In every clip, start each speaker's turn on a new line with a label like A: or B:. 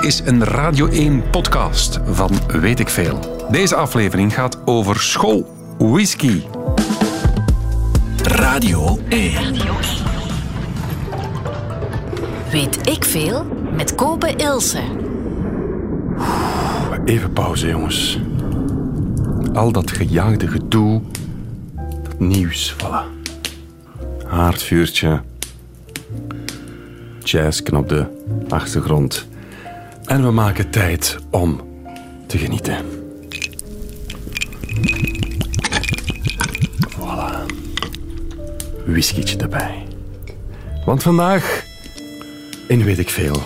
A: is een Radio 1 podcast van Weet ik Veel. Deze aflevering gaat over school, whisky.
B: Radio 1.
C: Weet ik veel met Kopen Ilse.
D: Even pauze, jongens. Al dat gejaagde gedoe. Dat nieuws, voilà. Haardvuurtje. Jazzken op de achtergrond. En we maken tijd om te genieten. Voilà. Whiskietje erbij. Want vandaag, in weet ik veel,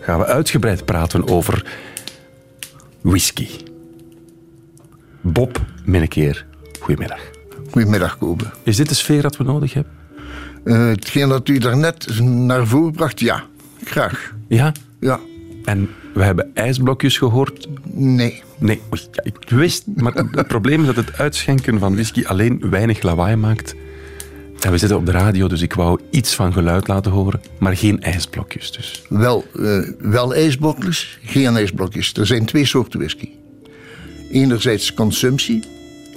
D: gaan we uitgebreid praten over whisky. Bob Minnekeer, goedemiddag.
E: Goedemiddag, Kobe.
D: Is dit de sfeer dat we nodig hebben?
E: Eh, hetgeen dat u daarnet naar voren bracht, ja. Graag.
D: Ja.
E: Ja.
D: En we hebben ijsblokjes gehoord.
E: Nee.
D: Nee, oei, ja, ik wist, maar het probleem is dat het uitschenken van whisky alleen weinig lawaai maakt. En we zitten op de radio, dus ik wou iets van geluid laten horen, maar geen ijsblokjes dus.
E: Wel, eh, wel ijsblokjes, geen ijsblokjes. Er zijn twee soorten whisky. Enerzijds consumptie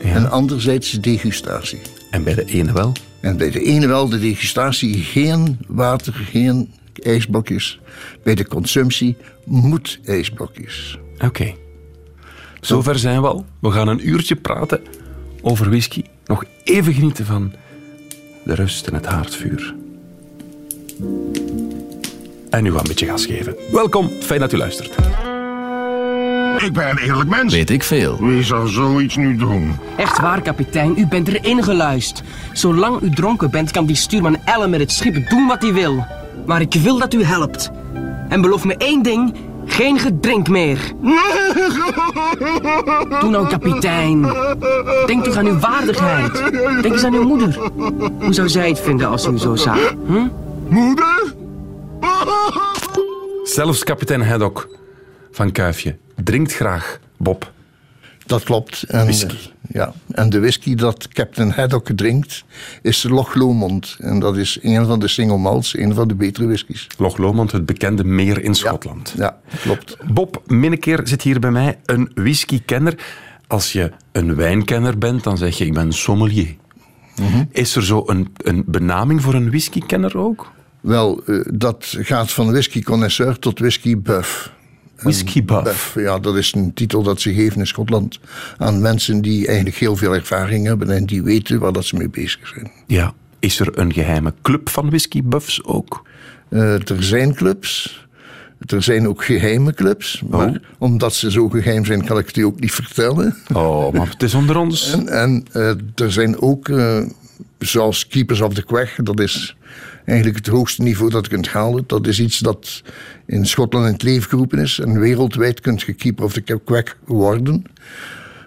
E: en anderzijds degustatie.
D: En bij de ene wel.
E: En bij de ene wel de degustatie geen water, geen ijsblokjes. Bij de consumptie moet ijsblokjes.
D: Oké. Zover zijn we al. We gaan een uurtje praten over whisky. Nog even genieten van de rust en het haardvuur. En nu gaan we een beetje gas geven. Welkom, fijn dat u luistert.
F: Ik ben een eerlijk mens.
B: Weet ik veel.
F: Wie zou zoiets nu doen?
G: Echt waar, kapitein. U bent erin geluisterd. Zolang u dronken bent, kan die stuurman Ellen met het schip doen wat hij wil. Maar ik wil dat u helpt. En beloof me één ding. Geen gedrink meer. Doe nou, kapitein. Denk toch aan uw waardigheid. Denk eens aan uw moeder. Hoe zou zij het vinden als u zo zag?
F: Moeder?
D: Zelfs kapitein Haddock van Kuifje drinkt graag Bob.
E: Dat klopt. En,
D: Whisky.
E: eh, ja. en de whisky dat Captain Haddock drinkt, is de Loch Lomond. En dat is een van de single malts, een van de betere whiskies.
D: Loch Lomond, het bekende meer in Schotland.
E: Ja, klopt.
D: Bob Minnekeer zit hier bij mij, een whiskykenner. Als je een wijnkenner bent, dan zeg je ik ben sommelier.
E: Mhm.
D: Is er zo een, een benaming voor een whiskykenner ook?
E: Wel, eh, dat gaat van whisky connoisseur tot whisky buff.
D: Whisky buff.
E: Buff, ja, dat is een titel dat ze geven in Schotland aan mensen die eigenlijk heel veel ervaring hebben en die weten waar dat ze mee bezig zijn.
D: Ja. Is er een geheime club van whisky buffs ook?
E: Eh, er zijn clubs. Er zijn ook geheime clubs. Maar omdat ze zo geheim zijn, kan ik het u ook niet vertellen.
D: Oh, maar het is onder ons.
E: En, en, eh, er zijn ook, eh, zoals Keepers of the Quag, dat is eigenlijk het hoogste niveau dat je kunt halen. Dat is iets dat in Schotland in het leven geroepen is. En wereldwijd kunt je Keeper of the Quag worden.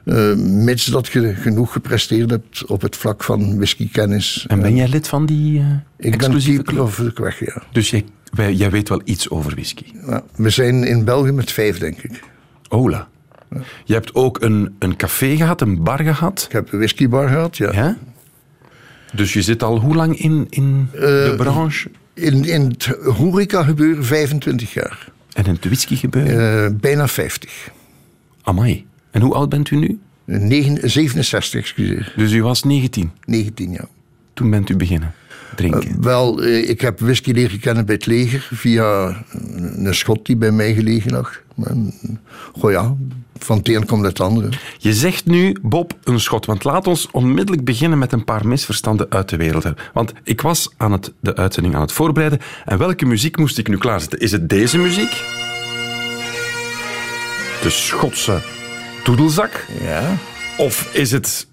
E: Eh, mits dat je genoeg gepresteerd hebt op het vlak van whiskykennis.
D: En ben jij lid van die eh,
E: ik ben
D: exclusieve
E: Keeper
D: club?
E: of the Quag, ja.
D: Dus jij, wij- jij weet wel iets over whisky.
E: Ja, We zijn in België met vijf, denk ik.
D: Ola. Je hebt ook een, een café gehad, een bar gehad.
E: Ik heb een whiskybar gehad, ja.
D: Hè? Dus je zit al hoe lang in, in de branche
E: In, in het horeca gebeuren 25 jaar.
D: en in het whisky gebeuren?
E: Eh, bijna 50.
D: Amai. En hoe oud bent u nu?
E: Negen- 67, excuseer.
D: Dus u was 19.
E: 19 jaar.
D: Toen bent u beginnen drinken.
E: Wel, eh, ik heb whisky leren kennen bij het leger via eh, een een schot die bij mij gelegen lag. En, goh ja, van het een komt het andere.
D: je zegt nu, Bob, een schot. Want laat ons onmiddellijk beginnen met een paar misverstanden uit de wereld. hebben. Want ik was aan het, de uitzending aan het voorbereiden. En welke muziek moest ik nu klaarzetten? Is het deze muziek? De Schotse toedelzak?
E: Ja.
D: Of is het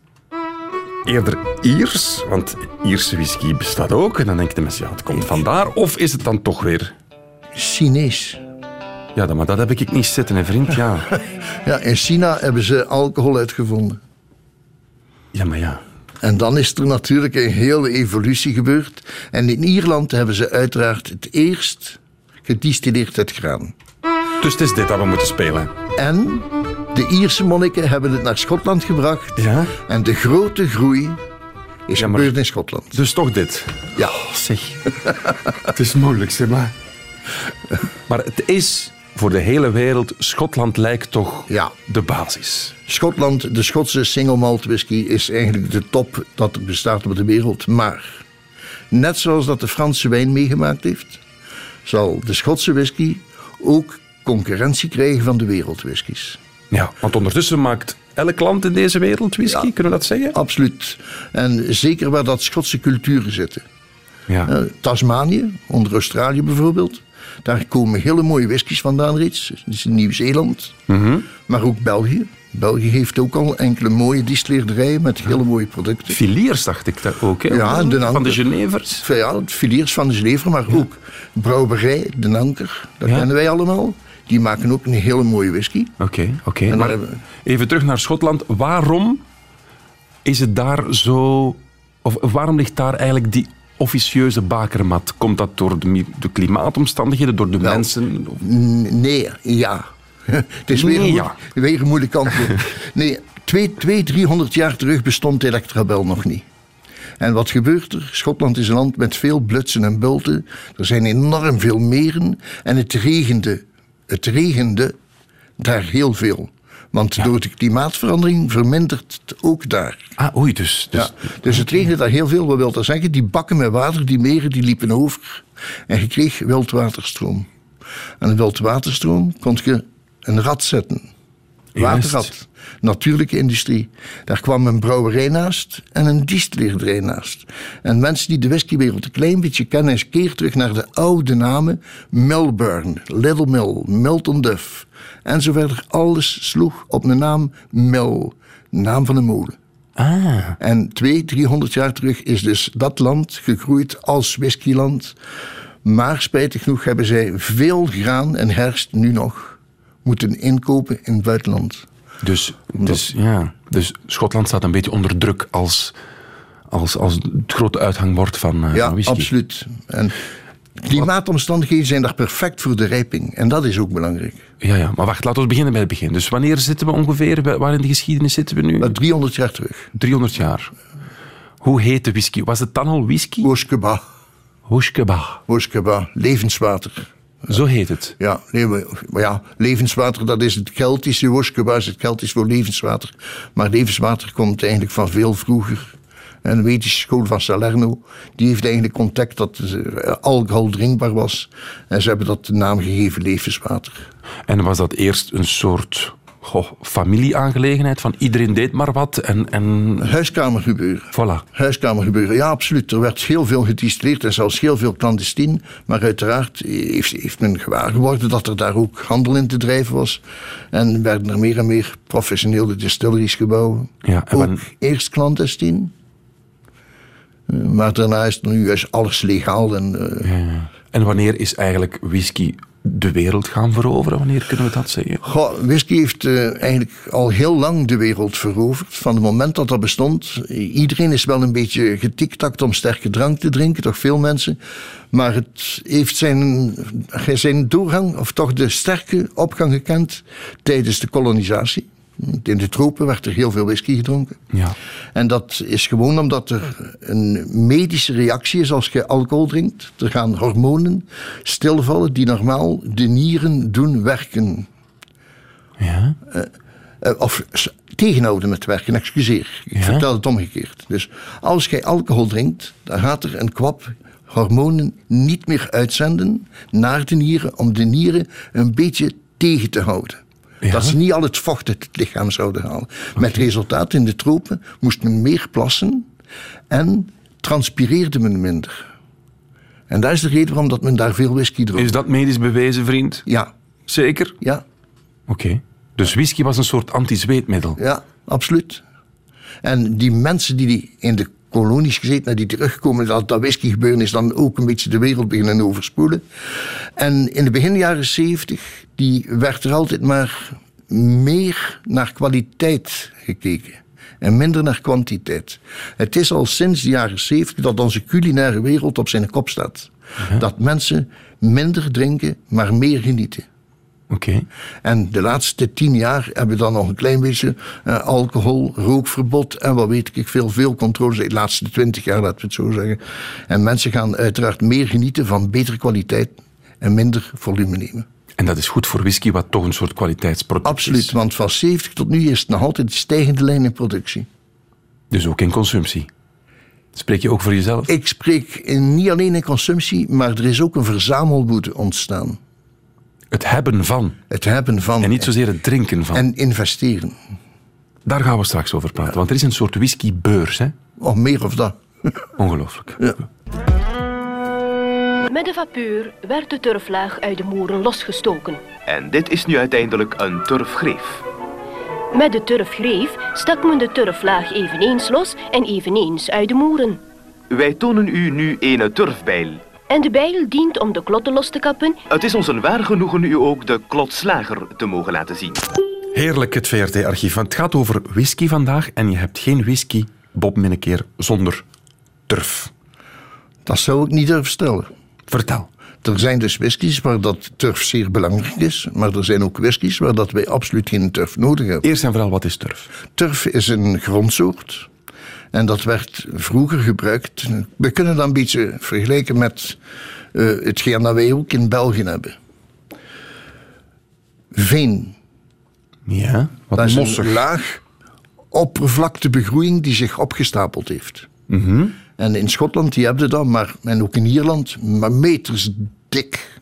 D: eerder Iers? Want Ierse whisky bestaat ook. En dan denkt de mensen, ja, het komt vandaar. Of is het dan toch weer...
E: Chinees.
D: Ja, dan- maar dat heb ik niet zitten, hè, vriend. Ja,
E: Ja, in China hebben ze alcohol uitgevonden.
D: ja maar ja.
E: En dan is er natuurlijk een hele evolutie gebeurd. En in Ierland hebben ze uiteraard het eerst gedistilleerd het graan.
D: Dus het is dit dat we moeten spelen.
E: En de Ierse monniken hebben het naar Schotland gebracht.
D: Ja?
E: En de grote groei is
D: Ja, maar-
E: gebeurd in Schotland.
D: Dus toch dit.
E: Ja.
D: zeg. het is moeilijk, zeg maar. Maar het is voor de hele wereld, Schotland lijkt toch
E: Ja.
D: de basis.
E: Schotland, de Schotse single malt whisky, is eigenlijk de top dat er bestaat op de wereld. Maar net zoals dat de Franse wijn meegemaakt heeft, zal de Schotse whisky ook concurrentie krijgen van de wereldwhiskies.
D: Ja, want ondertussen maakt elk land in deze wereld whisky, kunnen we dat zeggen?
E: Absoluut. En zeker waar dat Schotse culturen zitten.
D: Ja.
E: Eh, Tasmanië, onder Australië bijvoorbeeld. Daar komen hele mooie whiskies vandaan reeds. Dus Nieuw-Zeeland, maar ook België. België heeft ook al enkele mooie distilleerderijen met hele mooie producten.
D: Filiers dacht ik daar ook, hè?
E: Ja, Den
D: van de
E: Anker.
D: Genevers.
E: Ja, het filiers van de Zlever, maar ook Brouwerij, De Nanker, dat
D: Ja.
E: kennen wij allemaal. Die maken ook een hele mooie whisky.
D: Oké, oké.
E: En
D: Maar
E: daar hebben
D: even terug naar Schotland. Waarom is het daar zo... Of waarom ligt daar eigenlijk die officieuze bakermat? Komt dat door de, mi- de klimaatomstandigheden, door de mensen? Of-
E: N- Nee, ja. Het is weer,
D: Nee,
E: een, moe-
D: ja.
E: weer een moeilijk antwoord. nee, twee, twee, driehonderd jaar terug bestond Electrabel nog niet. En wat gebeurt er? Schotland is een land met veel blutsen en bulten. Er zijn enorm veel meren. En het regende, het regende daar heel veel. Want door de klimaatverandering vermindert het ook daar.
D: Ah, oei, dus... dus
E: Dus, ja. dus het regende daar heel veel. Wat wil dat zeggen? Die bakken met water, die meren, die liepen over. En je kreeg wildwaterstroom. En een wildwaterstroom kon je een rat zetten.
D: Juist.
E: Waterrad. Natuurlijke industrie. Daar kwam een brouwerij naast en een distilleerderij naast. En mensen die de whiskywereld een klein beetje kennen, is keer terug naar de oude namen. Melbourne, Little Mill, Milton Duff. En zo verder. Alles sloeg op de naam Mill. Naam van een molen. En twee, driehonderd jaar terug is dus dat land gegroeid als whiskyland. Maar spijtig genoeg hebben zij veel graan en herfst nu nog moeten inkopen in het buitenland.
D: Dus, dus, ja, dus Schotland staat een beetje onder druk als, als, als het grote uithangbord van, eh,
E: Ja,
D: van whisky.
E: absoluut. En klimaatomstandigheden zijn daar perfect voor de rijping. En dat is ook belangrijk.
D: Ja, ja, maar wacht, laten we beginnen bij het begin. Dus wanneer zitten we ongeveer? Wa- Waar in de geschiedenis zitten we nu?
E: Maar 300 jaar terug.
D: 300 jaar. Hoe heet de whisky? Was het dan al whisky?
E: Wooskeba,
D: Hoeskeba.
E: Wooskeba, levenswater.
D: Zo heet het.
E: Ja, nee, maar maar ja, levenswater, dat is het Keltische. Woskeba is het Keltisch voor levenswater. Maar levenswater komt eigenlijk van veel vroeger. En de wetische school van Salerno, die heeft eigenlijk ontdekt dat eh, alcohol drinkbaar was. En ze hebben dat de naam gegeven, levenswater.
D: En was dat eerst een soort goh, familieaangelegenheid van iedereen deed maar wat en, en
E: Huiskamergebeuren.
D: voilà.
E: Huiskamergebeuren, ja, absoluut. Er werd heel veel gedistilleerd en zelfs heel veel clandestien. Maar uiteraard heeft, heeft men gewaar geworden dat er daar ook handel in te drijven was. En werden er meer en meer professionele distilleries gebouwen.
D: Ja, en
E: ook
D: men-
E: eerst clandestien. Eh, Maar daarna is nu juist alles legaal. En, eh,
D: En wanneer is eigenlijk whisky de wereld gaan veroveren? Wanneer kunnen we dat zeggen?
E: Goh, whisky heeft eh, eigenlijk al heel lang de wereld veroverd. Van het moment dat dat bestond. Iedereen is wel een beetje getiktakt om sterke drank te drinken, toch veel mensen. Maar het heeft zijn, zijn doorgang, of toch de sterke opgang gekend tijdens de kolonisatie. In de tropen werd er heel veel whisky gedronken.
D: Ja.
E: En dat is gewoon omdat er een medische reactie is als je alcohol drinkt. Er gaan hormonen stilvallen die normaal de nieren doen werken.
D: Ja?
E: Eh, of s- tegenhouden met werken, excuseer. Ik
D: Ja.
E: vertel het omgekeerd. Dus als jij alcohol drinkt, dan gaat er een kwap hormonen niet meer uitzenden naar de nieren om de nieren een beetje tegen te houden.
D: Ja.
E: Dat ze niet al het vocht uit het lichaam zouden halen. Met resultaat in de tropen moest men meer plassen en transpireerde men minder. En dat is de reden waarom dat men daar veel whisky dronk.
D: Is dat medisch bewezen, vriend?
E: Ja,
D: Zeker?
E: ja.
D: Oké. Dus whisky was een soort anti-zweetmiddel.
E: Ja, absoluut. En die mensen die, die in de kolonies gezeten hebben, die terugkomen, dat, dat whisky gebeuren is dan ook een beetje de wereld beginnen overspoelen. En in de begin jaren zeventig, die werd er altijd maar meer naar kwaliteit gekeken. En minder naar kwantiteit. Het is al sinds de jaren zeventig dat onze culinaire wereld op zijn kop staat. Dat mensen minder drinken, maar meer genieten.
D: Oké.
E: En de laatste tien jaar hebben we dan nog een klein beetje eh, alcohol, rookverbod en wat weet ik veel, veel controles. De laatste twintig jaar, laten we het zo zeggen. En mensen gaan uiteraard meer genieten van betere kwaliteit en minder volume nemen.
D: En dat is goed voor whisky, wat toch een soort kwaliteitsproduct
E: Absoluut,
D: is.
E: want van 70 tot nu is het nog altijd een stijgende lijn in productie.
D: Dus ook in consumptie. Spreek je ook voor jezelf?
E: Ik spreek in, niet alleen in consumptie, maar er is ook een verzamelboete ontstaan.
D: Het hebben van.
E: Het hebben van
D: En niet zozeer het drinken van.
E: en investeren.
D: Daar gaan we straks over praten. Want er is een soort whiskybeurs, hè?
E: Of meer of dat.
D: Ongelooflijk.
B: Met de vapuur werd de turflaag uit de moeren losgestoken.
H: En dit is nu uiteindelijk een turfgreef.
B: Met de turfgreef stak men de turflaag eveneens los en eveneens uit de moeren.
H: Wij tonen u nu een turfbijl.
B: En de bijl dient om de klotten los te kappen
H: Het is ons een waar genoegen u ook de klotslager te mogen laten zien.
D: Heerlijk, het VRT-archief. Want het gaat over whisky vandaag. En je hebt geen whisky, Bob Minnekeer, zonder turf.
E: Dat zou ik niet durven stellen.
D: Vertel.
E: Er zijn dus whiskies waar dat turf zeer belangrijk is, maar er zijn ook whiskies waar dat wij absoluut geen turf nodig hebben.
D: Eerst en vooral, wat is turf?
E: Turf is een grondsoort. En dat werd vroeger gebruikt. We kunnen dat een beetje vergelijken met eh, hetgeen dat wij ook in België hebben. Veen.
D: Ja, wat
E: Dat is
D: mossig.
E: een laag oppervlaktebegroeiing die zich opgestapeld heeft.
D: Mhm.
E: En in Schotland, die hebben dat, maar, en ook in Ierland, maar meters dik.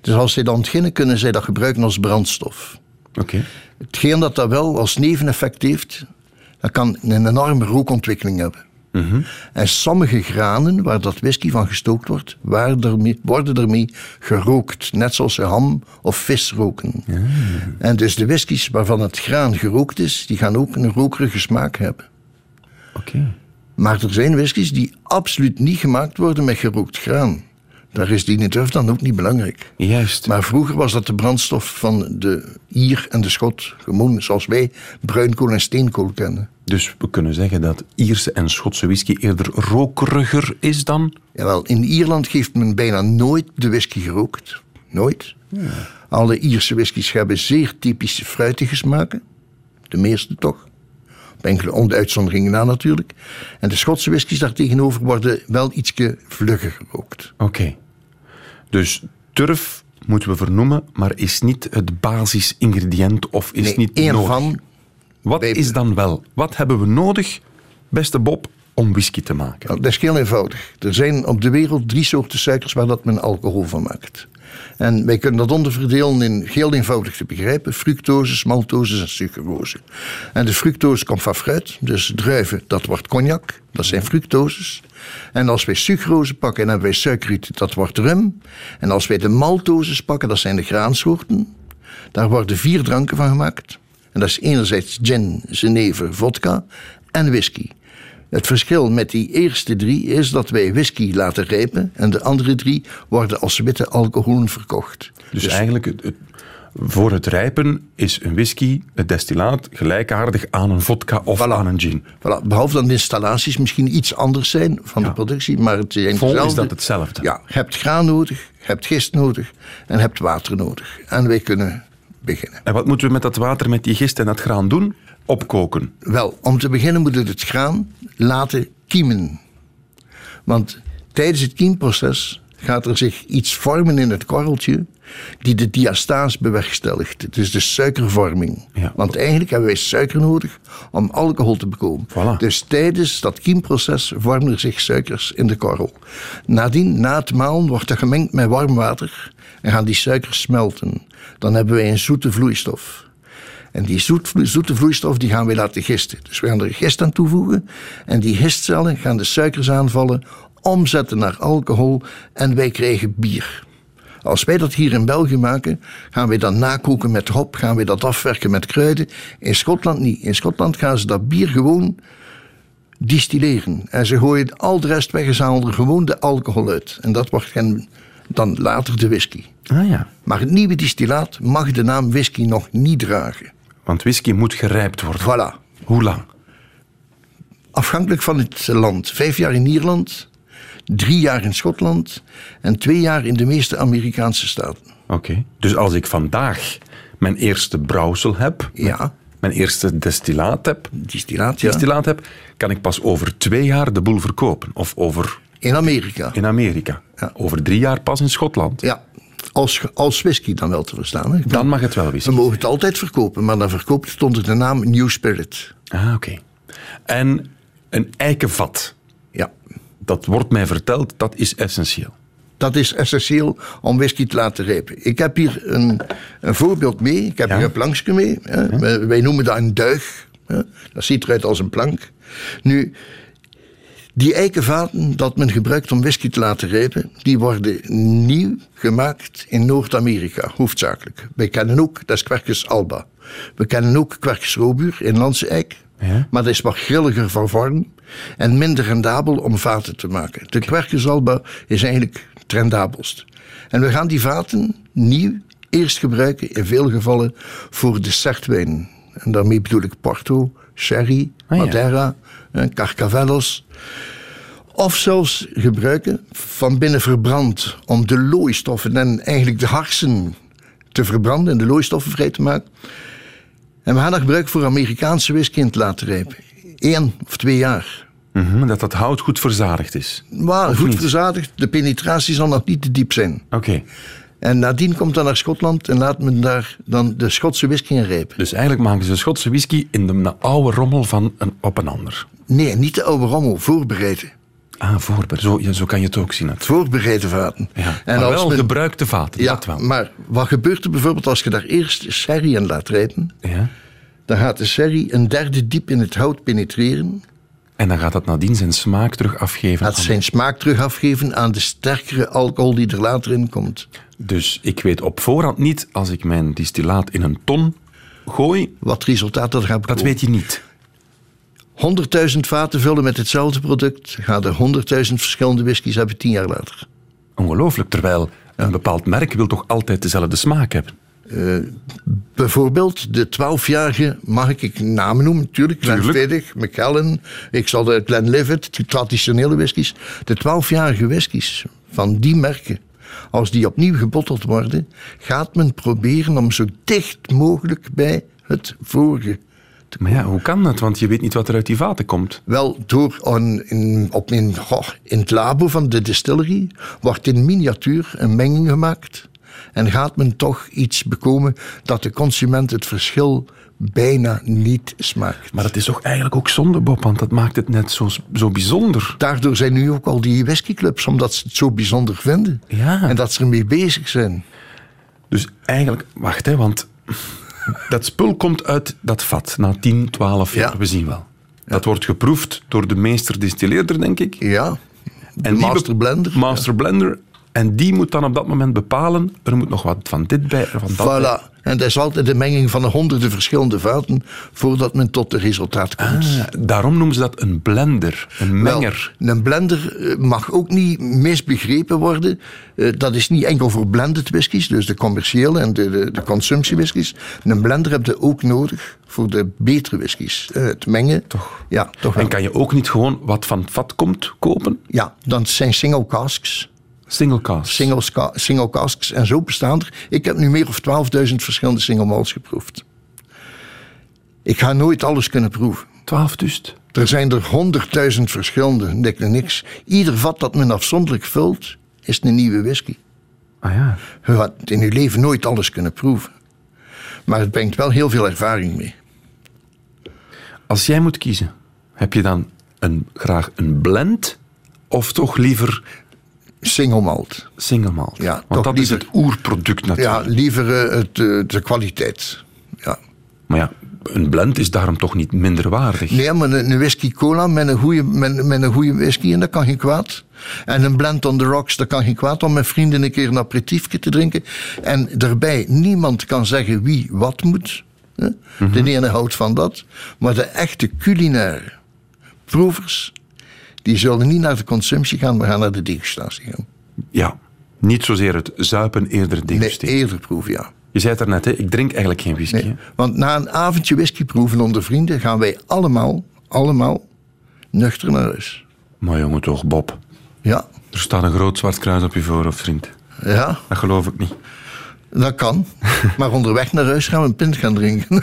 E: Dus als zij dat ontginnen, kunnen zij dat gebruiken als brandstof.
D: Oké.
E: Hetgeen dat dat wel als neveneffect heeft, dat kan een enorme rookontwikkeling hebben. En sommige granen waar dat whisky van gestookt wordt, waar ermee- worden ermee gerookt. Net zoals ze ham of vis roken. En dus de whiskies waarvan het graan gerookt is, die gaan ook een rokerige smaak hebben.
D: Oké.
E: Maar er zijn whiskies die absoluut niet gemaakt worden met gerookt graan. Daar is die turf dan ook niet belangrijk.
D: Juist.
E: Maar vroeger was dat de brandstof van de Ier en de Schot. Gewoon zoals wij bruinkool en steenkool kennen.
D: Dus we kunnen zeggen dat Ierse en Schotse whisky eerder rokeriger is dan...
E: Jawel, in Ierland geeft men bijna nooit de whisky gerookt. Nooit. Alle Ierse whiskies hebben zeer typische fruitige smaken. De meeste toch. Op enkele on- uitzonderingen na natuurlijk. En de Schotse whiskies daartegenover worden wel ietsje vlugger gerookt.
D: Oké. Dus turf moeten we vernoemen, maar is niet het basisingrediënt of is niet
E: één
D: nodig.
E: van
D: Wat
E: Wij-
D: is dan wel? Wat hebben we nodig, beste Bob, om whisky te maken?
E: Nou, dat is heel eenvoudig. Er zijn op de wereld drie soorten suikers waar dat men alcohol van maakt. En wij kunnen dat onderverdelen in heel eenvoudig te begrijpen: fructose, maltose en sucrose. En de fructose komt van fruit, dus druiven, dat wordt cognac, dat zijn fructoses. En als wij sucrose pakken, dan hebben wij suikerriet, dat wordt rum. En als wij de maltoses pakken, dat zijn de graansoorten, daar worden vier dranken van gemaakt. En dat is enerzijds gin, jenever, vodka en whisky. Het verschil met die eerste drie is dat wij whisky laten rijpen en de andere drie worden als witte alcoholen verkocht.
D: Dus eigenlijk, het- het- voor het rijpen is een whisky, het destillaat, gelijkaardig aan een vodka of aan een gin.
E: Voilà, behalve dat de installaties misschien iets anders zijn van de productie, maar het zijn
D: Vol is
E: hetzelfde.
D: dat hetzelfde.
E: Ja, je hebt graan nodig, je hebt gist nodig en je hebt water nodig. En wij kunnen beginnen.
D: En wat moeten we met dat water, met die gist en dat graan doen? Opkoken.
E: Wel, om te beginnen moeten we het graan laten kiemen. Want tijdens het kiemproces gaat er zich iets vormen in het korreltje die de diastase bewerkstelligt. Dus de suikervorming.
D: Ja.
E: Want eigenlijk hebben wij suiker nodig om alcohol te bekomen.
D: Voilà.
E: Dus tijdens dat kiemproces vormen er zich suikers in de korrel. Nadien, na het malen, wordt dat gemengd met warm water en gaan die suikers smelten. Dan hebben wij een zoete vloeistof. En die zoet- zoete vloeistof die gaan wij laten gisten. Dus we gaan er gist aan toevoegen. En die gistcellen gaan de suikers aanvallen, omzetten naar alcohol en wij krijgen bier. Als wij dat hier in België maken, gaan wij dat nakoken met hop, gaan wij dat afwerken met kruiden. In Schotland niet. In Schotland gaan ze dat bier gewoon distilleren. En ze gooien al de rest weg en ze halen er gewoon de alcohol uit. En dat wordt hen dan later de whisky.
D: Ah ja.
E: Maar het nieuwe distillaat mag de naam whisky nog niet dragen.
D: Want whisky moet gerijpt worden.
E: Voilà.
D: Hoe lang?
E: Afhankelijk van het land. Vijf jaar in Ierland, drie jaar in Schotland en twee jaar in de meeste Amerikaanse staten.
D: Oké. Dus als ik vandaag mijn eerste brouwsel heb,
E: Ja,
D: mijn eerste destillaat heb,
E: distillaat, ja.
D: destillaat heb, kan ik pas over twee jaar de boel verkopen. Of over
E: In Amerika.
D: in Amerika. Over drie jaar pas in Schotland.
E: Ja. Als, als whisky dan wel te verstaan. Hè?
D: Dan mag het wel
E: We
D: whisky.
E: mogen het altijd verkopen, maar dan verkoopt het onder de naam New Spirit.
D: Ah, oké. En een eikenvat.
E: Ja.
D: Dat wordt mij verteld, dat is essentieel.
E: Dat is essentieel om whisky te laten rijpen. Ik heb hier een, een voorbeeld mee. Ik heb
D: Ja.
E: hier een plankje mee. Hè. Wij- Wij noemen dat een duig. Hè. Dat ziet eruit als een plank. Nu, die eikenvaten dat men gebruikt om whisky te laten rijpen, die worden nieuw gemaakt in Noord-Amerika, hoofdzakelijk. Wij kennen ook, dat is Quercus alba. We kennen ook Quercus robuur in Landse eik. Maar dat is wat grilliger van vorm en minder rendabel om vaten te maken. De Quercus alba is eigenlijk het rendabelst. En we gaan die vaten nieuw eerst gebruiken, in veel gevallen, voor dessertwijnen. En daarmee bedoel ik Porto, Sherry,
D: Ah, ja.
E: Madeira, eh, Carcavelos of zelfs gebruiken van binnen verbrand om de looistoffen en eigenlijk de harsen te verbranden en de looistoffen vrij te maken. En we gaan dat gebruiken voor Amerikaanse whisky in te laten rijpen. Eén of twee jaar.
D: Mhm, Dat dat hout goed verzadigd is.
E: Maar goed verzadigd, de penetratie zal nog niet te diep zijn.
D: Oké.
E: En nadien komt dan naar Schotland en laat men daar dan de Schotse whisky in rijpen.
D: Dus eigenlijk maken ze Schotse whisky in de na- oude rommel van een op een ander.
E: Nee, niet de oude rommel, voorbereiden.
D: Ah, voorbereid. Zo, ja, zo kan je het ook zien. natuurlijk.
E: Voorbereide vaten.
D: Ja. En maar
E: als
D: wel
E: men-
D: gebruikte vaten, dat wel.
E: maar wat gebeurt er bijvoorbeeld als je daar eerst sherry in laat rijpen?
D: Ja.
E: Dan gaat de sherry een derde diep in het hout penetreren.
D: En dan gaat dat nadien zijn smaak terug afgeven.
E: Gaat
D: aan-
E: zijn smaak terug afgeven aan de sterkere alcohol die er later in komt.
D: Dus ik weet op voorhand niet, als ik mijn distillaat in een ton gooi,
E: Wat resultaat dat gaat
D: dat
E: bekomen.
D: weet je niet.
E: 100.000 vaten vullen met hetzelfde product. Gaan er 100.000 verschillende whiskies hebben tien jaar later.
D: Ongelooflijk, terwijl een bepaald merk wil toch altijd dezelfde smaak hebben.
E: Bijvoorbeeld de 12-jarige, mag ik ik namen noemen? Natuurlijk, Glenfiddich, McKellen, ik zal de Glenlivet, die traditionele whiskies. De 12-jarige whiskies van die merken, als die opnieuw gebotteld worden, gaat men proberen om zo dicht mogelijk bij het vorige.
D: Maar ja, hoe kan dat? Want je weet niet wat er uit die vaten komt.
E: Wel, door een, in, op een, goh, in het labo van de distillery wordt in miniatuur een menging gemaakt. En gaat men toch iets bekomen dat de consument het verschil bijna niet smaakt.
D: Maar dat is toch eigenlijk ook zonde, Bob, want dat maakt het net zo, zo bijzonder.
E: Daardoor zijn nu ook al die whiskyclubs, omdat ze het zo bijzonder vinden.
D: Ja.
E: En dat ze ermee bezig zijn.
D: Dus eigenlijk, wacht hè, want dat spul komt uit dat vat na 10, 12 jaar.
E: Ja.
D: We zien wel. Dat wordt geproefd door de meester distilleerder, denk ik.
E: Ja.
D: En die
E: master
D: be-
E: blender.
D: Master blender. En die moet dan op dat moment bepalen, er moet nog wat van dit bij, er van dat bij.
E: Voilà. En dat is altijd de menging van de honderden verschillende vaten voordat men tot het resultaat komt.
D: Ah, daarom noemen ze dat een blender, een
E: Wel,
D: menger.
E: een blender eh, mag ook niet misbegrepen worden. Eh, Dat is niet enkel voor blended whiskies, dus de commerciële en de, de, de consumptiewhiskies. Een blender heb je ook nodig voor de betere whiskies. Eh, Het mengen. Toch? Ja, toch wel.
D: en kan je ook niet gewoon wat van het vat komt kopen?
E: Ja, dan zijn single casks.
D: Single cast.
E: Single, ska- single casks en zo bestaan er. Ik heb nu meer of 12.000 verschillende single malts geproefd. Ik ga nooit alles kunnen proeven.
D: 12 dus.
E: Er zijn er 100.000 verschillende, dik en niks. Ieder vat dat men afzonderlijk vult, is een nieuwe whisky.
D: Ah ja.
E: Je had in je leven nooit alles kunnen proeven. Maar het brengt wel heel veel ervaring mee.
D: Als jij moet kiezen, heb je dan een, graag een blend of toch liever
E: Single malt.
D: single malt?
E: Ja,
D: Want
E: toch
D: dat is
E: liever.
D: het oerproduct
E: Ja,
D: natuurlijk.
E: liever eh, het, eh, de kwaliteit. Ja.
D: Maar ja, een blend is daarom toch niet minder waardig.
E: Nee, maar een, een whisky cola met een, goede, met, met een goede whisky, en dat kan geen kwaad. En een blend on the rocks, dat kan geen kwaad om met vrienden een keer een aperitiefje te drinken. En daarbij, niemand kan zeggen wie wat moet. hè. De ene houdt van dat. Maar de echte culinaire proevers, die zullen niet naar de consumptie gaan, maar gaan naar de degustatie gaan.
D: Ja, niet zozeer het zuipen, eerder
E: Nee,
D: degusteren.
E: eerder proeven, ja.
D: Je zei het daarnet, hè, ik drink eigenlijk geen whisky.
E: Nee,
D: hè.
E: Want na een avondje whisky proeven onder vrienden gaan wij allemaal, allemaal, nuchter naar huis.
D: Maar jongen toch, Bob.
E: Ja,
D: Er staat een groot zwart kruis op je voorhoofd, vriend.
E: ja,
D: Dat geloof ik niet.
E: dat kan. maar onderweg naar huis gaan we een pint gaan drinken.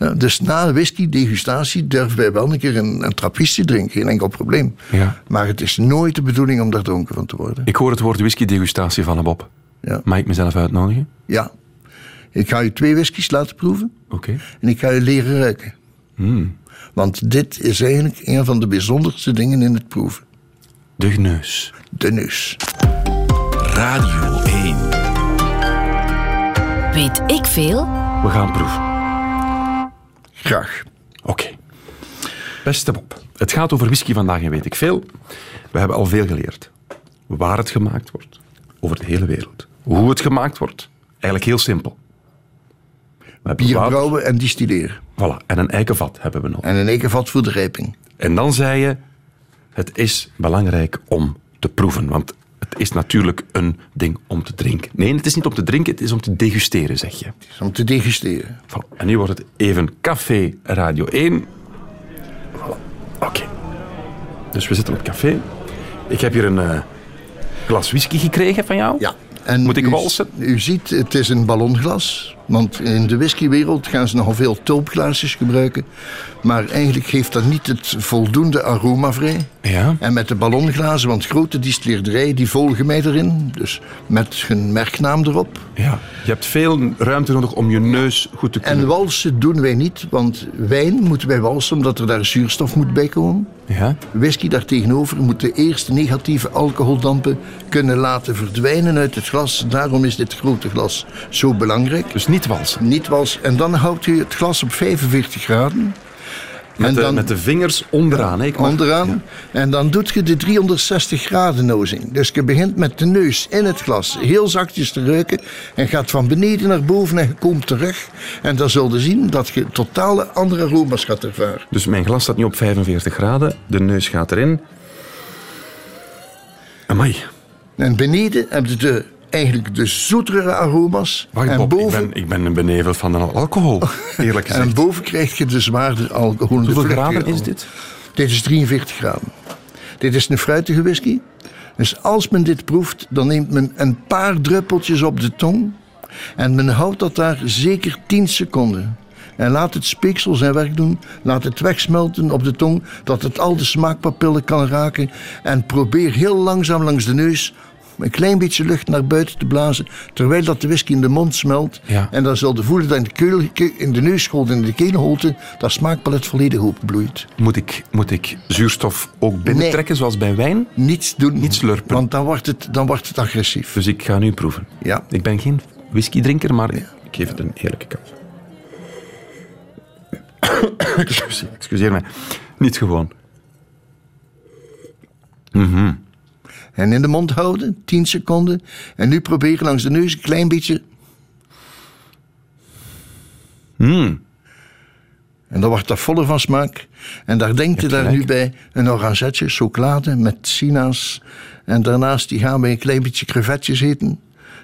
E: Ja, dus na de whisky-degustatie durven wij wel een keer een, een trappistje drinken, geen enkel probleem.
D: Ja.
E: Maar het is nooit de bedoening om daar dronken van te worden.
D: Ik hoor het woord whisky-degustatie van hem, Bob.
E: Ja.
D: Mag ik mezelf uitnodigen?
E: Ja. Ik ga je twee whiskies laten proeven
D: Oké.
E: en ik ga je leren ruiken. Want dit is eigenlijk een van de bijzonderste dingen in het proeven.
D: De neus.
E: De neus.
I: Radio 1.
C: Weet ik veel?
D: We gaan proeven.
E: Graag.
D: Oké. Beste Bob, het gaat over whisky vandaag en weet ik veel. We hebben al veel geleerd. Waar het gemaakt wordt. Over de hele wereld. Hoe het gemaakt wordt. Eigenlijk heel simpel. We hebben
E: Bier
D: water-
E: brouwen en distilleren.
D: Voilà, en een eikenvat hebben we nog.
E: En in één keer vat voor de rijping.
D: En dan zei je, het is belangrijk om te proeven. Want het is natuurlijk een ding om te drinken. Nee, het is niet om te drinken, het is om te degusteren, zeg je.
E: Het is om te degusteren.
D: Voilà. En nu wordt het even Café Radio 1. Voilà. Oké. Dus we zitten op het café. Ik heb hier een eh, glas whisky gekregen van jou.
E: Ja. En
D: Moet ik
E: u,
D: walsen?
E: U ziet, het is een ballonglas. Want in de whiskywereld gaan ze nogal veel tulpglaasjes gebruiken. Maar eigenlijk geeft dat niet het voldoende aroma vrij.
D: Ja.
E: En met de ballonglazen, want grote distilleerderijen die volgen mij erin. Dus met hun merknaam erop.
D: ja. Je hebt veel ruimte nodig om je neus goed te kunnen...
E: En walsen doen wij niet, want wijn moeten wij walsen omdat er daar zuurstof moet bij komen.
D: Ja.
E: Whisky daartegenover moet de eerste negatieve alcoholdampen kunnen laten verdwijnen uit het glas. Daarom is dit grote glas zo belangrijk.
D: Dus niet walsen.
E: Niet was. En dan houdt u het glas op 45 graden. en
D: Met, de,
E: dan
D: met de vingers onderaan. hè. Ik mag-
E: onderaan.
D: Ja.
E: En dan doet je de 360 graden nozing. Dus je begint met de neus in het glas heel zachtjes te ruiken. En gaat van beneden naar boven en je komt terug. En dan zul je zien dat je totale andere aroma's gaat ervaren.
D: Dus mijn glas staat nu op 45 graden. De neus gaat erin. Amai.
E: En beneden heb je de, eigenlijk de zoetere aroma's.
D: Wacht,
E: en
D: Bob,
E: boven,
D: ik, ben, ik ben beneveld van de alcohol, eerlijk gezegd.
E: en boven krijg je dus de zwaardere alcohol.
D: Hoeveel graden is dit?
E: Dit is 43 graden. Dit is een fruitige whisky. Dus als men dit proeft, dan neemt men een paar druppeltjes op de tong. En men houdt dat daar zeker 10 seconden. En laat het speeksel zijn werk doen. Laat het wegsmelten op de tong, dat het al de smaakpapillen kan raken. En probeer heel langzaam langs de neus een klein beetje lucht naar buiten te blazen. Terwijl dat de whisky in de mond smelt.
D: Ja.
E: En dan zal de voelen dat in de, keel, ke- in de neusgold en in de keelholte dat smaakpalet volledig openbloeit.
D: Moet ik, moet ik zuurstof ook binnentrekken, zoals bij wijn?
E: Niets doen.
D: Niet slurpen.
E: Mhm. Want dan wordt het, dan wordt het agressief.
D: Dus ik ga nu proeven.
E: Ja.
D: Ik ben geen whiskydrinker, maar ik geef het een eerlijke kans. Excuseer- Excuseer mij. Niet gewoon.
E: En in de mond houden, 10 seconden. En nu proberen langs de neus een klein beetje. Hmm. En dan wordt dat voller van smaak. En daar denkt je daar nu bij een orangetje, chocolade met sinaas. En daarnaast die gaan we een klein beetje crevetjes eten.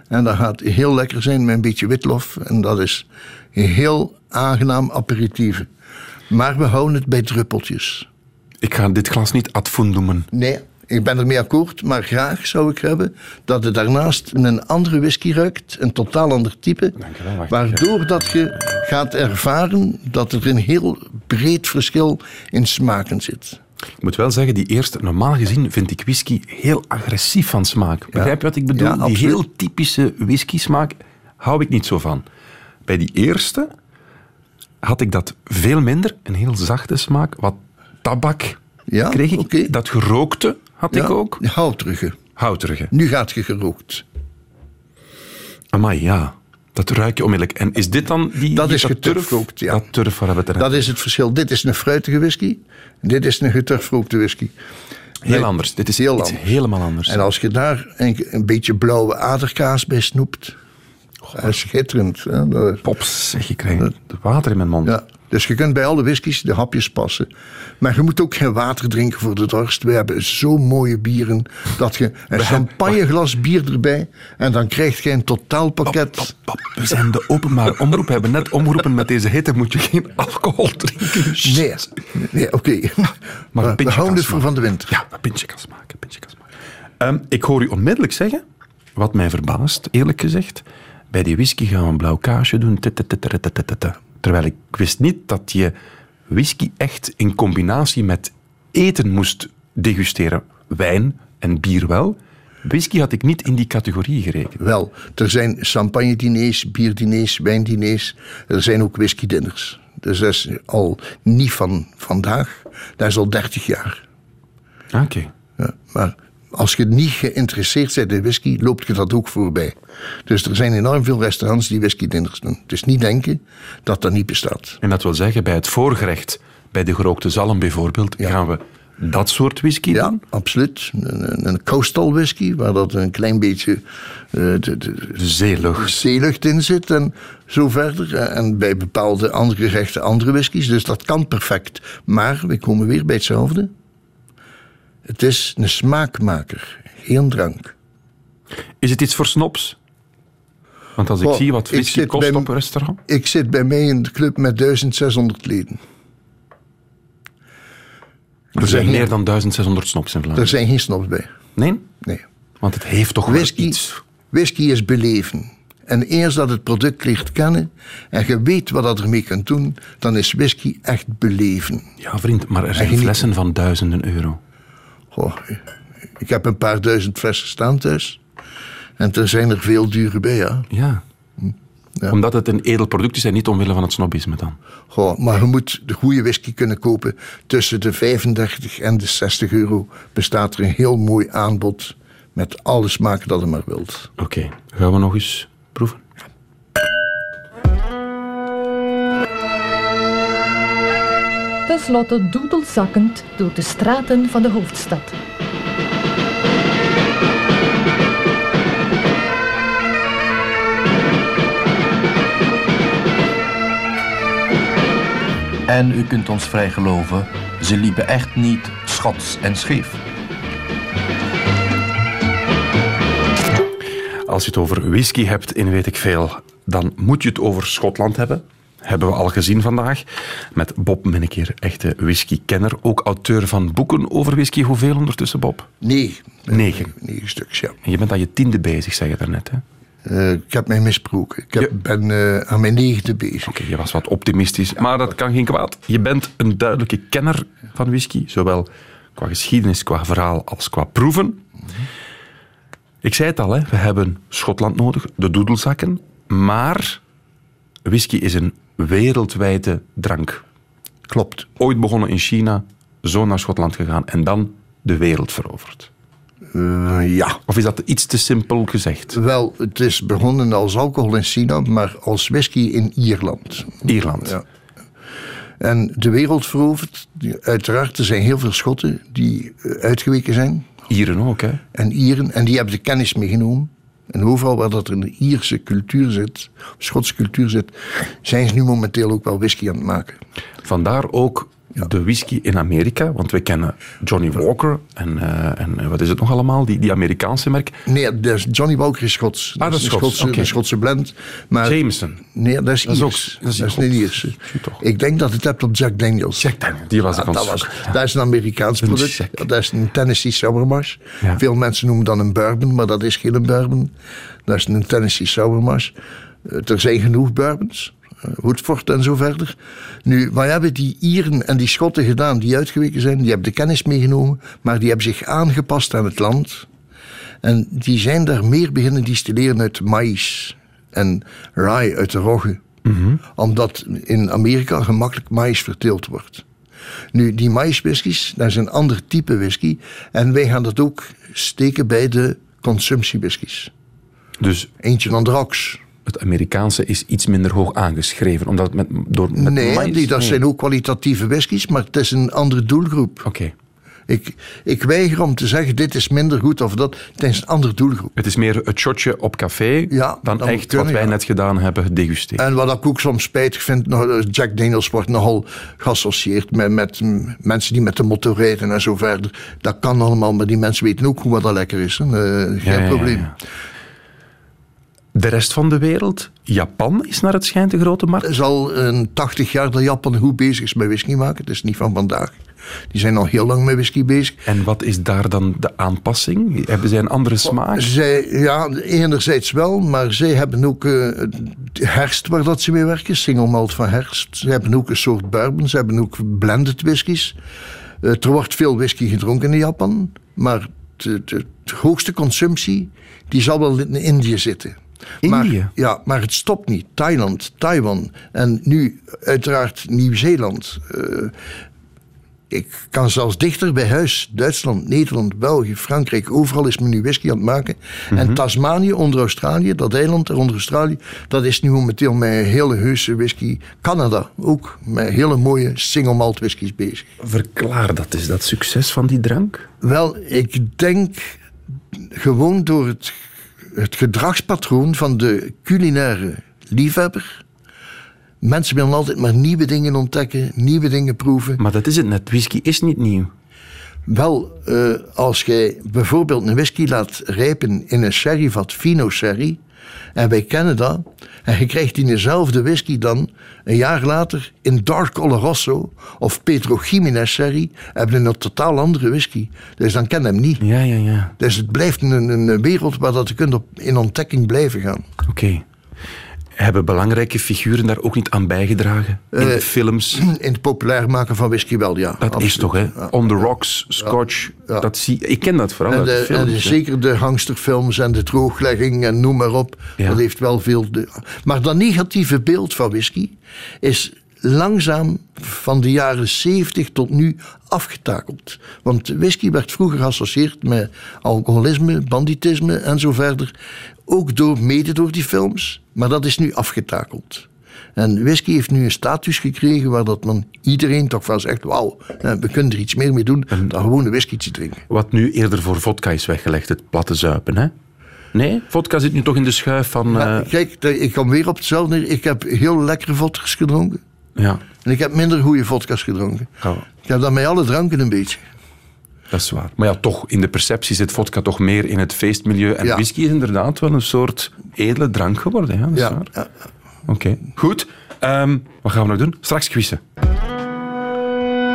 E: En dat gaat heel lekker zijn met een beetje witlof. En dat is een heel aangenaam aperitief. Maar we houden het bij druppeltjes.
D: Ik ga dit glas niet ad fundumen.
E: Nee, ik ben ermee akkoord, maar graag zou ik hebben dat het daarnaast een andere whisky ruikt, een totaal ander type.
D: Dank je wel, wacht.
E: Waardoor dat je gaat ervaren dat er een heel breed verschil in smaken zit.
D: Ik moet wel zeggen, die eerste, normaal gezien vind ik whisky heel agressief van smaak. Begrijp je wat ik bedoel?
E: Ja,
D: die
E: absoluut.
D: heel typische whisky-smaak hou ik niet zo van. Bij die eerste had ik dat veel minder, een heel zachte smaak. Wat tabak
E: Ja,
D: kreeg ik.
E: oké.
D: Dat gerookte had ik
E: Ja,
D: ook.
E: Houterige.
D: Houterige.
E: Nu gaat je gerookt.
D: Amai, ja. Dat ruik je onmiddellijk. En is dit dan die...
E: Dat is
D: turf?
E: geturfrookt, ja.
D: Dat turf, waar hebben we het er-
E: Dat is het verschil. Dit is een fruitige whisky. Dit is een geturfrookte whisky.
D: Heel anders. Dit is
E: heel
D: iets
E: anders.
D: helemaal anders.
E: En als je daar een, een beetje blauwe aderkaas bij snoept... dat is schitterend. Hè? Dat is-
D: Pops, zeg, ik krijg het water in mijn mond.
E: Ja, dus je kunt bij alle whiskies de hapjes passen. Maar je moet ook geen water drinken voor de dorst. We hebben zo mooie bieren dat je een champagneglas bier erbij en dan krijg je een
D: Pap,
E: totaalpakket.
D: pap, we zijn de openbare omroep. We hebben net omgeroepen met deze hitte moet je geen alcohol drinken.
E: Nee, nee oké.
D: Maar
E: We-
D: een
E: we
D: pintje
E: houden
D: kan
E: het voor
D: smaken.
E: van de winter.
D: Ja, een pintje kan smaken. een Pintje kan smaken. Ehm, ik hoor u onmiddellijk zeggen, wat mij verbaast, eerlijk gezegd. Bij die whisky gaan we een blauw kaasje doen. tit, tit, tit, tit, tit, tit, tit. Terwijl ik wist niet dat je whisky echt in combinatie met eten moest degusteren. Wijn en bier wel. Whisky had ik niet in die categorie gerekend.
E: Wel, er zijn champagne-diners, bierdiners, wijndiners. Er zijn ook whisky-dinners. Dus dat is al niet van vandaag. Dat is al 30 jaar. Ah,
D: Oké.
E: Ja, maar als je niet geïnteresseerd bent in whisky, loopt je dat ook voorbij. Dus er zijn enorm veel restaurants die whisky-dinners doen. Dus niet denken dat dat niet bestaat.
D: En dat wil zeggen, bij het voorgerecht, bij de gerookte zalm bijvoorbeeld, gaan we dat soort whisky
E: Ja,
D: doen.
E: absoluut. Een, een- een coastal whisky, waar dat een klein beetje eh, de, de,
D: De zeelucht.
E: zeelucht in zit en zo verder. Eh, En bij bepaalde andere gerechten andere whiskies. Dus dat kan perfect. Maar we komen weer bij hetzelfde. Het is een smaakmaker, geen drank.
D: Is het iets voor snobs? Want als ik
E: Oh,
D: zie wat
E: ik
D: whisky
E: zit
D: kost
E: bij-
D: op een restaurant...
E: Ik zit bij mij in de club met 1600 leden.
D: Er zijn
E: geen-
D: meer dan 1600 snobs in
E: Daar
D: Vlaanderen.
E: zijn geen snobs bij.
D: Nee?
E: Nee.
D: Want het heeft toch wel
E: Whisky,
D: iets.
E: whisky is beleven. En eerst dat het product leert kennen en je weet wat dat ermee kunt doen, dan is whisky echt beleven.
D: Ja, vriend, maar er zijn
E: genieten.
D: flessen van duizenden euro.
E: Goh, ik heb een paar duizend flessen staan thuis. En er zijn er veel dure bij, ja.
D: Ja. Omdat het een edel product is en niet omwille van het snobisme dan.
E: Goh, maar je moet de goede whisky kunnen kopen. Tussen de 35 en de 60 euro bestaat er een heel mooi aanbod. Met alle smaken dat je maar wilt.
D: Oké, gaan we nog eens proeven?
J: tenslotte doedelzakkend door de straten van de hoofdstad.
I: En u kunt ons vrij geloven, ze liepen echt niet schots en scheef.
D: Als je het over whisky hebt in weet ik veel, dan moet je het over Schotland hebben. Hebben we al gezien vandaag. Met Bob Minnekeer, echte whiskykenner. Ook auteur van boeken over whisky. Hoeveel ondertussen, Bob?
E: Nee,
D: Negen.
E: negen stuks, ja.
D: En je bent aan je tiende bezig, zei je daarnet. Hè?
E: Eh, ik heb mij misproken. Ik heb,
D: Ja.
E: ben eh, aan mijn negende bezig.
D: Oké, je was wat optimistisch, maar dat kan geen kwaad. Je bent een duidelijke kenner van whisky, zowel qua geschiedenis, qua verhaal als qua proeven. Ik zei het al, hè, we hebben Schotland nodig, de doedelzakken, maar whisky is een wereldwijde drank.
E: Klopt.
D: Ooit begonnen in China, zo naar Schotland gegaan en dan de wereld veroverd.
E: Eh, ja.
D: Of is dat iets te simpel gezegd?
E: Wel, het is begonnen als alcohol in China, maar als whisky in Ierland.
D: Ierland.
E: Ja. En de wereld veroverd. Die- Uiteraard, er zijn heel veel Schotten die eh, uitgeweken zijn.
D: Ieren ook, hè?
E: En Ieren. En die hebben de kennis meegenomen. En overal waar dat er een Ierse cultuur zit, Schotse cultuur zit, zijn ze nu momenteel ook wel whisky aan het maken.
D: Vandaar ook de whisky in Amerika, want we kennen Johnny Walker en, eh, en eh, wat is het nog allemaal, die, die Amerikaanse merk.
E: Nee, dus Johnny Walker is Schots.
D: Ah, dat is
E: een
D: Schots,
E: Schotse,
D: oké.
E: een Schotse blend. Maar
D: Eh, Jameson.
E: Nee, dat is
D: Dat is
E: Iers.
D: ook-
E: Dat
D: dat is-
E: is, niet Iers.
D: Zie toch.
E: Ik denk dat het hebt op Jack Daniels.
D: Jack Daniels, die was ik
E: Ah,
D: aan het
E: dat, was,
D: zoeken, ja.
E: dat is een Amerikaans
D: Een
E: product.
D: Jack.
E: Ja, Dat is een Tennessee Sourmash.
D: Ja.
E: Veel mensen noemen dat een bourbon, maar dat is geen bourbon. Dat is een Tennessee Sourmash. Eh, Er zijn genoeg bourbons. eh, Woodford en zo verder. Nu, wat hebben die Ieren en die Schotten gedaan die uitgeweken zijn? Die hebben de kennis meegenomen, maar die hebben zich aangepast aan het land. En die zijn daar meer beginnen distilleren uit maïs en rye uit de rogge.
D: Mhm.
E: Omdat in Amerika gemakkelijk maïs verteeld wordt. Nu, die maïswhiskies, dat is een ander type whisky. En wij gaan dat ook steken bij de consumptiewhiskies.
D: Dus
E: Eentje van Drax.
D: het Amerikaanse is iets minder hoog aangeschreven, omdat het met, door, met
E: Nee,
D: maïs-
E: die, dat
D: nee.
E: zijn ook kwalitatieve whiskies, maar het is een andere doelgroep.
D: Oké,
E: Ik, ik weiger om te zeggen, dit is minder goed of dat. Het is een andere doelgroep.
D: het is meer het shotje op café
E: Ja,
D: dan
E: dat
D: echt
E: moet kunnen,
D: wat wij
E: ja.
D: net gedaan hebben, gedegusteren.
E: En wat ik ook soms spijtig vind, nou, Jack Daniels wordt nogal geassocieerd met, met mm, mensen die met de motor rijden en zo verder. Dat kan allemaal, maar die mensen weten ook hoe wat dat lekker is. hè. Eh, geen
D: ja, ja,
E: probleem.
D: ja. de rest van de wereld, Japan is naar het schijnt de grote markt.
E: Het is al een 80 jaar dat Japan goed bezig is met whisky maken. Het is niet van vandaag. Die zijn al heel lang met whisky bezig.
D: En wat is daar dan de aanpassing? Hebben zij een andere smaak?
E: Zij, ja, enerzijds wel, maar zij hebben ook eh, de herfst waar dat ze mee werken, single malt van herfst. Ze hebben ook een soort bourbon, ze hebben ook blended whiskies. Eh, er wordt veel whisky gedronken in Japan, maar de, de, de hoogste consumptie, die zal wel in Indië zitten.
D: Indië?
E: Maar, ja, maar het stopt niet. Thailand, Taiwan en nu uiteraard Nieuw-Zeeland. Eh, ik kan zelfs dichter bij huis, Duitsland, Nederland, België, Frankrijk, overal is men nu whisky aan het maken. En Tasmanië onder Australië, dat eiland daar onder Australië, dat is nu momenteel met een hele heuse whisky. Canada ook met hele mooie single malt whiskies bezig.
D: Verklaar dat is dat succes van die drank?
E: Wel, ik denk gewoon door het, het gedragspatroon van de culinaire liefhebber. Mensen willen altijd maar nieuwe dingen ontdekken, nieuwe dingen proeven.
D: Maar dat is het net. Whisky is niet nieuw.
E: Wel, eh, als jij bijvoorbeeld een whisky laat rijpen in een sherryvat, fino sherry, en wij kennen dat, en je krijgt die dezelfde whisky dan een jaar later in Dark Oloroso of Pedro Jiménez sherry, hebben we een totaal andere whisky. Dus dan ken je hem niet.
D: Ja, ja, ja.
E: Dus het blijft een, een een wereld waar dat je kunt op, in ontdekking blijven gaan.
D: Oké. Hebben belangrijke figuren daar ook niet aan bijgedragen? In
E: Eh,
D: films?
E: In het populair maken van whisky wel, ja.
D: Dat is
E: absoluut.
D: toch, hè?
E: Ja.
D: On the Rocks, Scotch.
E: Ja.
D: Dat zie, ik ken dat vooral
E: En,
D: uit
E: de-
D: de films.
E: en de-
D: hè.
E: zeker de hangsterfilms en de drooglegging en noem maar op.
D: Ja.
E: Dat heeft wel veel. De, maar dat negatieve beeld van whisky is langzaam van de jaren 70 tot nu afgetakeld. Want whisky werd vroeger geassocieerd met alcoholisme, banditisme en zo verder. Ook door, mede door die films. Maar dat is nu afgetakeld. En whisky heeft nu een status gekregen waar dat man iedereen toch van zegt... wauw, eh, we kunnen er iets meer mee doen dan gewoon een whisky te drinken.
D: Wat nu eerder voor vodka is weggelegd, het platte zuipen, hè? Nee, vodka zit nu toch in de schuif van...
E: Maar
D: eh,
E: kijk, de- ik kom weer op hetzelfde neer. Ik heb heel lekkere vodka's gedronken.
D: ja,
E: En ik heb minder goede vodka's gedronken.
D: Oh.
E: Ik heb dat met alle dranken een beetje.
D: dat is waar. Maar ja, toch, in de perceptie zit vodka toch meer in het feestmilieu. En
E: Ja.
D: whisky is inderdaad wel een soort edele drank geworden, ja, dat is
E: Ja,
D: waar. Oké, goed. Ehm, wat gaan we nog doen? Straks quizzen.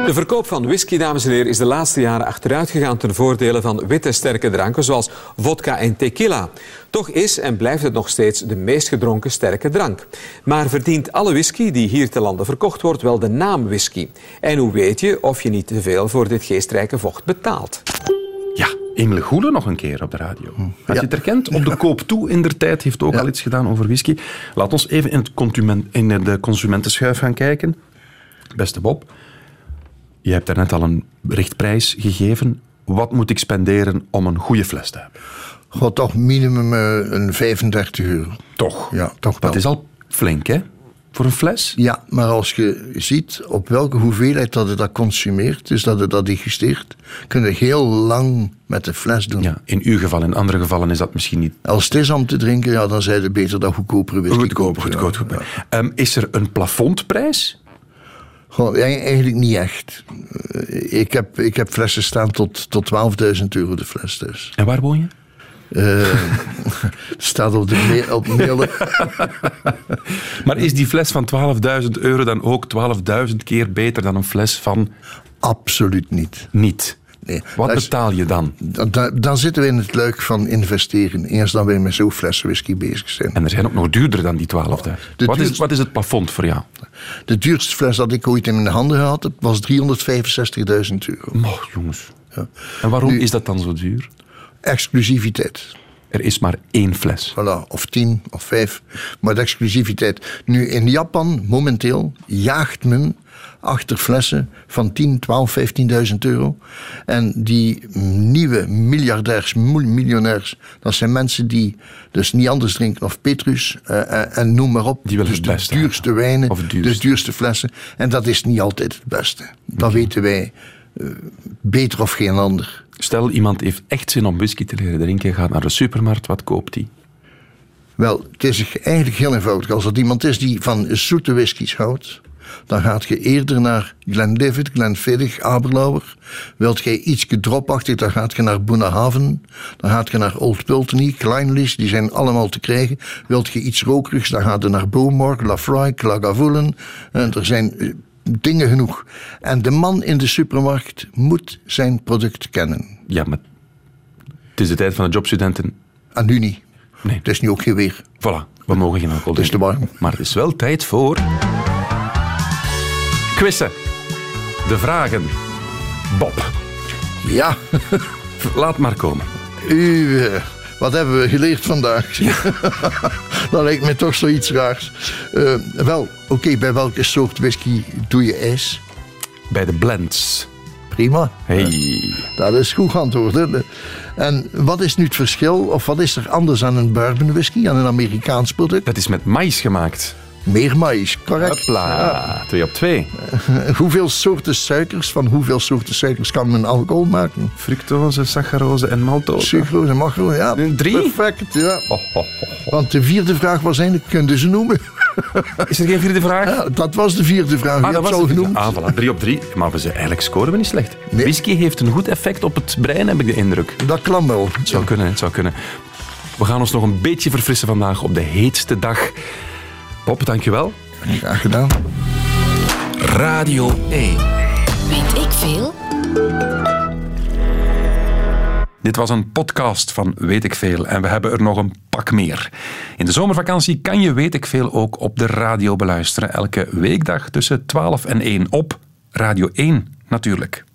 K: De verkoop van whisky, dames en heren, is de laatste jaren achteruit gegaan ten voordele van witte sterke dranken zoals vodka en tequila. Toch is en blijft het nog steeds de meest gedronken sterke drank. Maar verdient alle whisky die hier te lande verkocht wordt wel de naam whisky? En hoe weet je of je niet te veel voor dit geestrijke vocht betaalt?
D: Ja, Hm. Emile Goele nog een keer op de radio. Had je het herkend? Op de koop toe in der tijd heeft ook al iets gedaan over whisky. Laat ons even in, het consumen- in de consumentenschuif gaan kijken. Beste Bob, je hebt daarnet al een richtprijs gegeven. Wat moet ik spenderen om een goede fles te hebben?
E: God, toch minimum eh, een 35 euro.
D: Toch?
E: Ja, toch wel.
D: Dat is al flink, hè? Voor een fles?
E: Ja, maar als je ziet op welke hoeveelheid dat het dat consumeert, dus dat het dat digesteert, kun je heel lang met de fles doen.
D: Ja, in uw geval, in andere gevallen is dat misschien niet
E: Als het is om te drinken, ja, dan zijn het beter dat goedkopere whisky.
D: goedkoop.
E: kopen, ja.
D: goedkoop, goedkoop. Ehm, is er een plafondprijs?
E: Goh, e- eigenlijk niet echt. Eh, Ik heb, ik heb flessen staan tot, tot 12.000 euro de fles dus.
D: En waar woon je?
E: Eh, staat op de mail. Op mail
D: Maar is die fles van 12.000 euro dan ook 12.000 keer beter dan een fles van
E: absoluut niet.
D: niet?
E: Nee,
D: Wat
E: dat is-
D: betaal je dan?
E: dan, dan- dan zitten we in het luik van investeren. Eerst dan wij met zo'n flessen whisky bezig zijn.
D: En er zijn ook nog duurder dan die 12.000.
E: De
D: Wat, is,
E: duurste-
D: wat is het plafond voor jou?
E: De duurste fles dat ik ooit in mijn handen had, was 365.000 euro.
D: Oh, jongens. En waarom
E: Nu-
D: is dat dan zo duur?
E: Exclusiviteit.
D: Er is maar één fles.
E: Voilà, of tien, of vijf. Maar de exclusiviteit. Nu, in Japan, momenteel, jaagt men achter flessen van 10, 12, 15.000 euro. En die nieuwe miljardairs, mil- miljonairs, dat zijn mensen die dus niet anders drinken, of Petrus, eh, eh, en noem maar op.
D: Die willen
E: dus
D: het beste
E: de duurste
D: hebben.
E: wijnen,
D: Of het
E: de
D: duurste.
E: duurste flessen. En dat is niet altijd het beste. Dat weten wij eh, beter of geen ander.
D: Stel, iemand heeft echt zin om whisky te leren drinken, gaat naar de supermarkt, wat koopt hij?
E: Wel, het is eigenlijk heel eenvoudig. Als dat iemand is die van zoete whiskies houdt, dan gaat je eerder naar Glenlivet, Glenfiddich, Aberlour. Wilt jij iets gedropachtig, dan gaat je naar Boenehaven. Dan gaat je naar Old Pulteney, Kleinlies, die zijn allemaal te krijgen. Wilt je iets rokerigs, dan gaat je naar Beaumont, Lafroy, Klagavoelen. En er zijn eh, dingen genoeg. En de man in de supermarkt moet zijn product kennen.
D: Ja, maar het is de tijd van de jobstudenten.
E: En nu niet.
D: Nee.
E: Het is nu ook geen weer.
D: Voilà, we mogen geen alcohol
E: Het is te
D: drinken.
E: warm.
D: Maar het is wel tijd voor... Quizzen. De vragen. Bob.
E: Ja,
D: Laat maar komen.
E: U, eh, wat hebben we geleerd vandaag? dat lijkt me toch zoiets raars. Eh, wel, oké, bij welke soort whisky doe je ijs?
D: Bij de blends.
E: Prima.
D: Hey.
E: Dat is goed geantwoord. hè. En wat is nu het verschil, of wat is er anders aan een bourbon whisky, aan een Amerikaans product?
D: Dat is met maïs gemaakt.
E: Meer maïs, correct.
D: Hopla, twee op twee.
E: Ja. Hoeveel soorten suikers, van hoeveel soorten suikers kan men alcohol maken?
D: Fructose, saccharose en maltose. Oh,
E: Sucrose en macrose, ja.
D: Drie?
E: Perfect, ja.
D: Ho, ho, ho, ho.
E: Want de vierde vraag was eigenlijk, kunnen ze noemen?
D: Is er geen vierde vraag?
E: Ja, Ah, dat was de vierde vraag, je hebt ze
D: was
E: al
D: het.
E: genoemd.
D: Ah, voilà, drie op drie. Maar we zijn, eigenlijk scoren we niet slecht.
E: Nee.
D: Whisky heeft een goed effect op het brein, heb ik de indruk.
E: Dat kan wel.
D: Het zou kunnen, het zou kunnen. We gaan ons nog een beetje verfrissen vandaag op de heetste dag. Bob, dankjewel.
E: Graag gedaan.
A: Radio E. 1.
C: Weet ik veel?
A: Dit was een podcast van Weet ik Veel en we hebben er nog een pak meer. In de zomervakantie kan je Weet ik Veel ook op de radio beluisteren. Elke weekdag tussen 12 en 1 op Radio 1 natuurlijk.